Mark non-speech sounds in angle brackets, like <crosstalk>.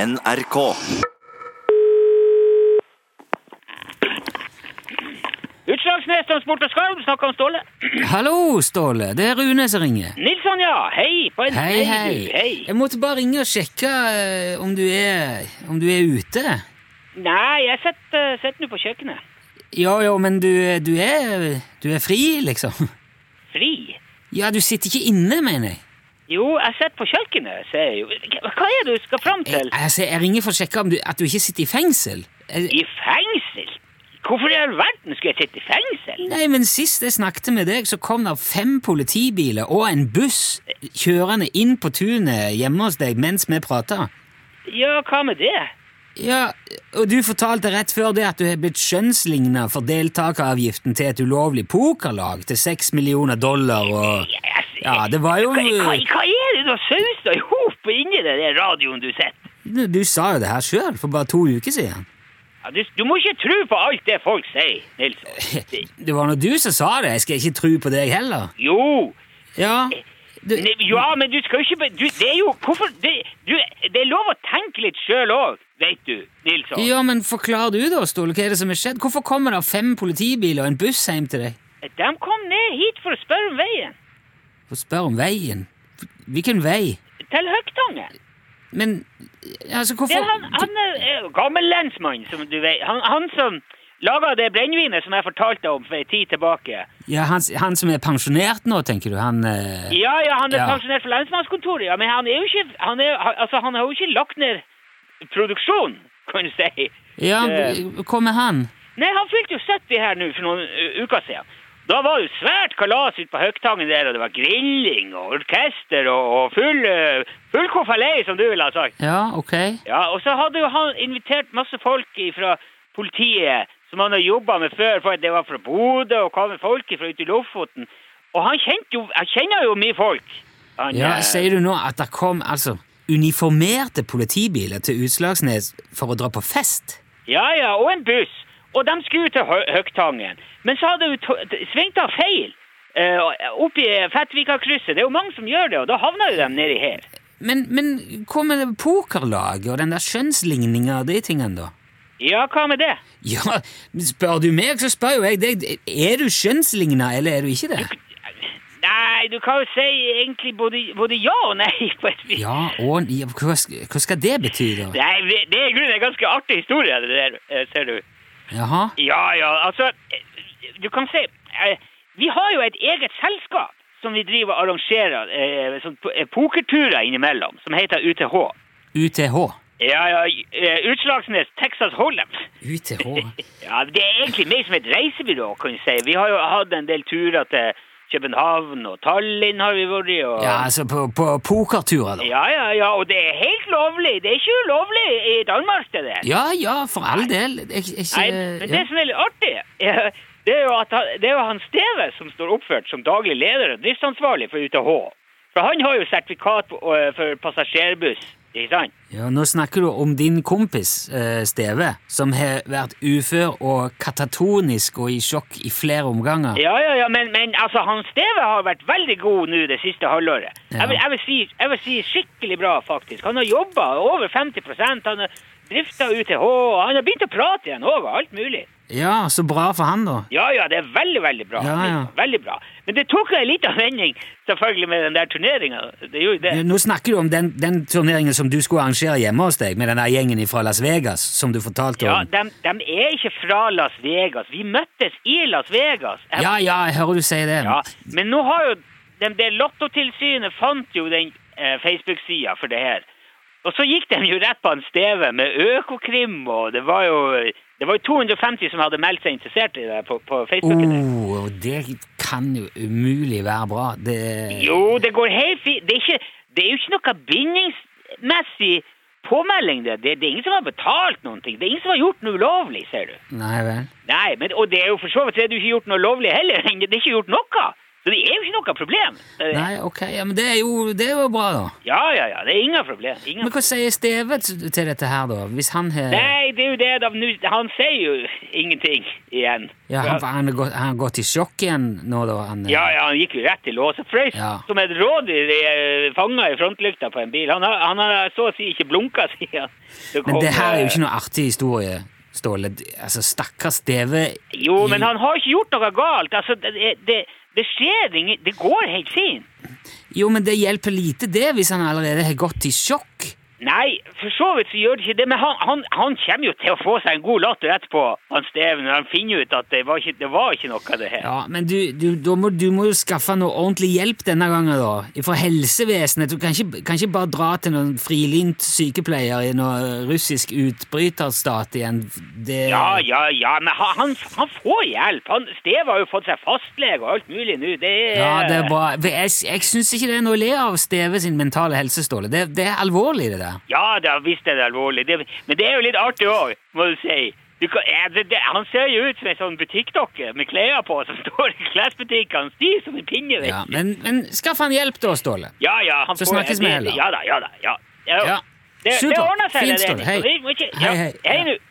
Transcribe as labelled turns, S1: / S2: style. S1: NRK.
S2: Utslagsnes Transport og Skarv, snakker om Ståle.
S3: Hallo, Ståle. Det er Rune som ringer.
S2: Nilsson, ja. Hei. På en,
S3: Hei, hei.
S2: du, hei.
S3: Jeg måtte bare ringe og sjekke eh, om du er, om du er ute.
S2: Nei, jeg sitter sitter nå på kjøkkenet.
S3: Ja, ja, men du, eh, du, er, du er fri, liksom. <laughs>
S2: Fri.
S3: Ja, du sitter ikke inne, mener jeg.
S2: Jo, jeg sitter på kjøkkenet, sier jeg jo. Hva er det du skal fram
S3: Jeg,
S2: til?
S3: altså, jeg ringer for å sjekke om du, at du ikke sitter i fengsel. Eh, Jeg,
S2: I fengsel? Hvorfor i all verden skulle jeg sitte i fengsel?
S3: nei, men Sist jeg snakket med deg, så kom det fem politibiler og en buss kjørende inn på tunet hjemme hos deg mens vi prata.
S2: Ja, hva med det?
S3: Ja, og du fortalte rett før det at du har blitt skjønnsligna for deltakeravgiften til et ulovlig pokerlag til seks millioner dollar og
S2: Yes.
S3: Ja, det var jo
S2: Hva, hva, hva er det du har sausa i hop inni den der radioen du sitter?
S3: Du sa jo det her sjøl for bare to uker siden.
S2: Ja, du, du må ikke tro på alt det folk sier,
S3: <laughs>
S2: Nilsson.
S3: Det var nå du som sa det, jeg skal ikke tro på deg heller.
S2: Jo,
S3: Ja, du,
S2: Ne- Ja, men du skal jo ikke be- du, Det er jo Hvorfor Det, du, det er lov å tenke litt sjøl òg, veit du, Nilsson.
S3: ja men forklar du da, Ståle, hva er det som har skjedd? Hvorfor kommer det fem politibiler og en buss hjem til deg
S2: De kom ned hit for å spørre om veien.
S3: og spør om veien? Hvilken vei?
S2: Til Høgtangen.
S3: Men altså,
S2: Det
S3: hvorfor
S2: er han, han er, er gammel lensmann, som du vet. Han, han som laga det brennevinet som jeg fortalte om for ei tid tilbake.
S3: Ja, han, han som er pensjonert nå, tenker du? Han eh,
S2: Ja, ja, han er
S3: Ja.
S2: pensjonert fra lensmannskontoret, ja, men han er jo ikke Han, er, han- altså, han har jo ikke lagt ned produksjonen, kan du si.
S3: Ja,
S2: Eh.
S3: hvor med han?
S2: Nei, han fylte jo 70 her nå for noen ø, uker siden. Da var det jo svært kalas ute på Høgtangen der, og det var grilling og orkester og, og full, ø, full konfalei, som du ville ha sagt.
S3: Ja, ok.
S2: Ja, og så hadde jo han invitert masse folk fra politiet, som han har jobba med før, for det var fra Bodø og kom folk fra ute i Lofoten. Og han kjente jo, han kjenner jo mye folk. Han,
S3: Ja,
S2: eh,
S3: Sier du nå at det kom altså uniformerte politibiler til Utslagsnes for å dra på fest?
S2: Ja, ja, og en buss. Og de skulle til Hø Høgtangen. Men så hadde hun to- t- svingt av feil eh, opp i Fettvika-krysset. Det er jo mange som gjør det, og da havna jo de nedi her.
S3: Men, men hva med det pokerlaget og den der skjønnsligninga og de tingene, da?
S2: Ja, hva med det?
S3: Ja, Spør du meg, så spør jo jeg deg. Er du skjønnsligna, eller er du ikke det?
S2: Nei, du kan jo si egentlig både, både ja og nei. på et vis.
S3: Ja, og ja, hva, sk- hva skal det bety, da?
S2: Nei, vi- det er i grunnen en ganske artig historie, det der, eh, ser du.
S3: Jaha?
S2: Ja, ja, altså eh, Du kan si eh, Vi har jo et eget selskap som vi driver og arrangerer eh, sånn po- eh, pokerturer innimellom, som heter UTH.
S3: UTH.
S2: Ja, ja, eh, Utslagsnes, Texas Hold'em.
S3: UTH?
S2: Ja, det er egentlig mer som et reisebyrå, kan du si. Vi har jo hatt en del turer til København og Tallinn har vi vært i. Og...
S3: Ja, altså på, på pokerturer, da.
S2: ja, ja, ja, og det er helt lovlig. Det er ikke ulovlig i Danmark, det der.
S3: Ja ja, for all del. Jeg, jeg,
S2: Nei,
S3: jeg,
S2: men
S3: ja.
S2: det som er litt artig, eh, det er jo at han, det er jo han Steve som står oppført som daglig leder og driftsansvarlig for UTH. For han har jo sertifikat på- eh, for passasjerbuss, ikke sant?
S3: Ja, Nå snakker du om din kompis, eh, Steve, som har vært ufør og katatonisk og i sjokk i flere omganger.
S2: Ja, ja, ja, men, men altså, han Steve har vært veldig god nå det siste halvåret.
S3: Ja.
S2: Jeg, vil, jeg, vil si, jeg vil si skikkelig bra, faktisk. Han har jobba over 50 han har drifta UTH, og han har begynt å prate igjen òg, og alt mulig.
S3: Ja, så bra for han, da.
S2: Ja, ja, det er veldig, veldig bra.
S3: Ja, ja.
S2: Veldig bra. Men det tok jo en liten vending, selvfølgelig, med den der turneringa. Det gjorde det.
S3: Nå snakker du om den, den turneringen som du skulle arrangere hjemme hos deg, med den der gjengen fra Las Vegas, som du fortalte
S2: Ja,
S3: om.
S2: de, er ikke fra Las Vegas. Vi møttes i Las Vegas. Jeg
S3: Ja, ja, jeg hører du sier det.
S2: Ja, men nå har jo de, det lottotilsynet fant jo den eh, Facebook-sida for det her. Og så gikk de jo rett på en steve med Økokrim, og det var jo, det var jo 250 som hadde meldt seg interessert i det på, på Facebook.
S3: Oh, det kan jo umulig være bra. Det
S2: Jo, det går helt fint. Det, er ikke- det er jo ikke noe bindingsmessig påmelding, det. det. Det er ingen som har betalt noen ting. Det er ingen som har gjort noe ulovlig, ser du.
S3: Nei vel.
S2: <laughs> Nei, men, og det er jo for så vidt det er det jo ikke gjort noe lovlig heller. Det er ikke gjort noe. Så det er jo ikke noe problem. Eh,
S3: Nei, ok, ja, men det er, jo, det er jo bra, da.
S2: Ja, ja, ja. Det er ingen problem. Ingen
S3: Men hva sier Steve til til dette her, da? Hvis han har
S2: Nei, det er jo det. da, nu- Han sier jo ingenting igjen.
S3: ja, han, han, har gått, han har gått i sjokk igjen nå, da? Han, eh.
S2: Ja, ja, han gikk jo rett til lås og frøys
S3: Ja.
S2: som et rådyr eh, fanga i frontlykta på en bil. Han har, han har så å si ikke <laughs> blunka siden.
S3: Men det her er jo ikke noe artig historie, Ståle. Altså, Stakkars Steve
S2: Jo,
S3: i-
S2: men han har ikke gjort noe galt. Altså, det, det, det skjer ingen Det går helt fint.
S3: Jo, men det hjelper lite, det, hvis han allerede har gått i sjokk.
S2: Nei, for så vidt så gjør det ikke det, men han, han, han kommer jo til å få seg en god latter etterpå, han Steven, når han finner ut at det var ikke, det var ikke noe, det her.
S3: Ja, men du, du, da må, du må jo skaffe noe ordentlig hjelp denne gangen, da. Fra helsevesenet. Du kan ikke, kan ikke bare dra til noen frilynt sykepleier i noen russisk utbryterstat igjen. Det,
S2: Ja, ja, ja, men han, han, han får hjelp. Han, Steve har jo fått seg fastlege og alt mulig nå. Det er
S3: Ja, det er bra. For Jeg, jeg syns ikke det er noe å le av Steve sin mentale helse, Ståle. Det, det er alvorlig, det der.
S2: Ja da, visst er det alvorlig. Det, men det er jo litt artig òg, må du si. Du kan, ja, det, det, han ser jo ut som en sånn butikkdokke med klær på som <laughs> står i klesbutikkene. Stiv som en pinne. vet
S3: Ja,
S2: du.
S3: men, men skaff han hjelp, da, Ståle.
S2: ja, ja, han
S3: Så
S2: får-
S3: snakkes vi
S2: det-
S3: heller.
S2: Ja da, ja da. Ja.
S3: Ja.
S2: Det, det
S3: Supert.
S2: ordner seg.
S3: Fint,
S2: det,
S3: Ståle.
S2: det.
S3: Hei.
S2: Vi må ikke-
S3: Hei,
S2: Ja,
S3: hei.
S2: hei nå.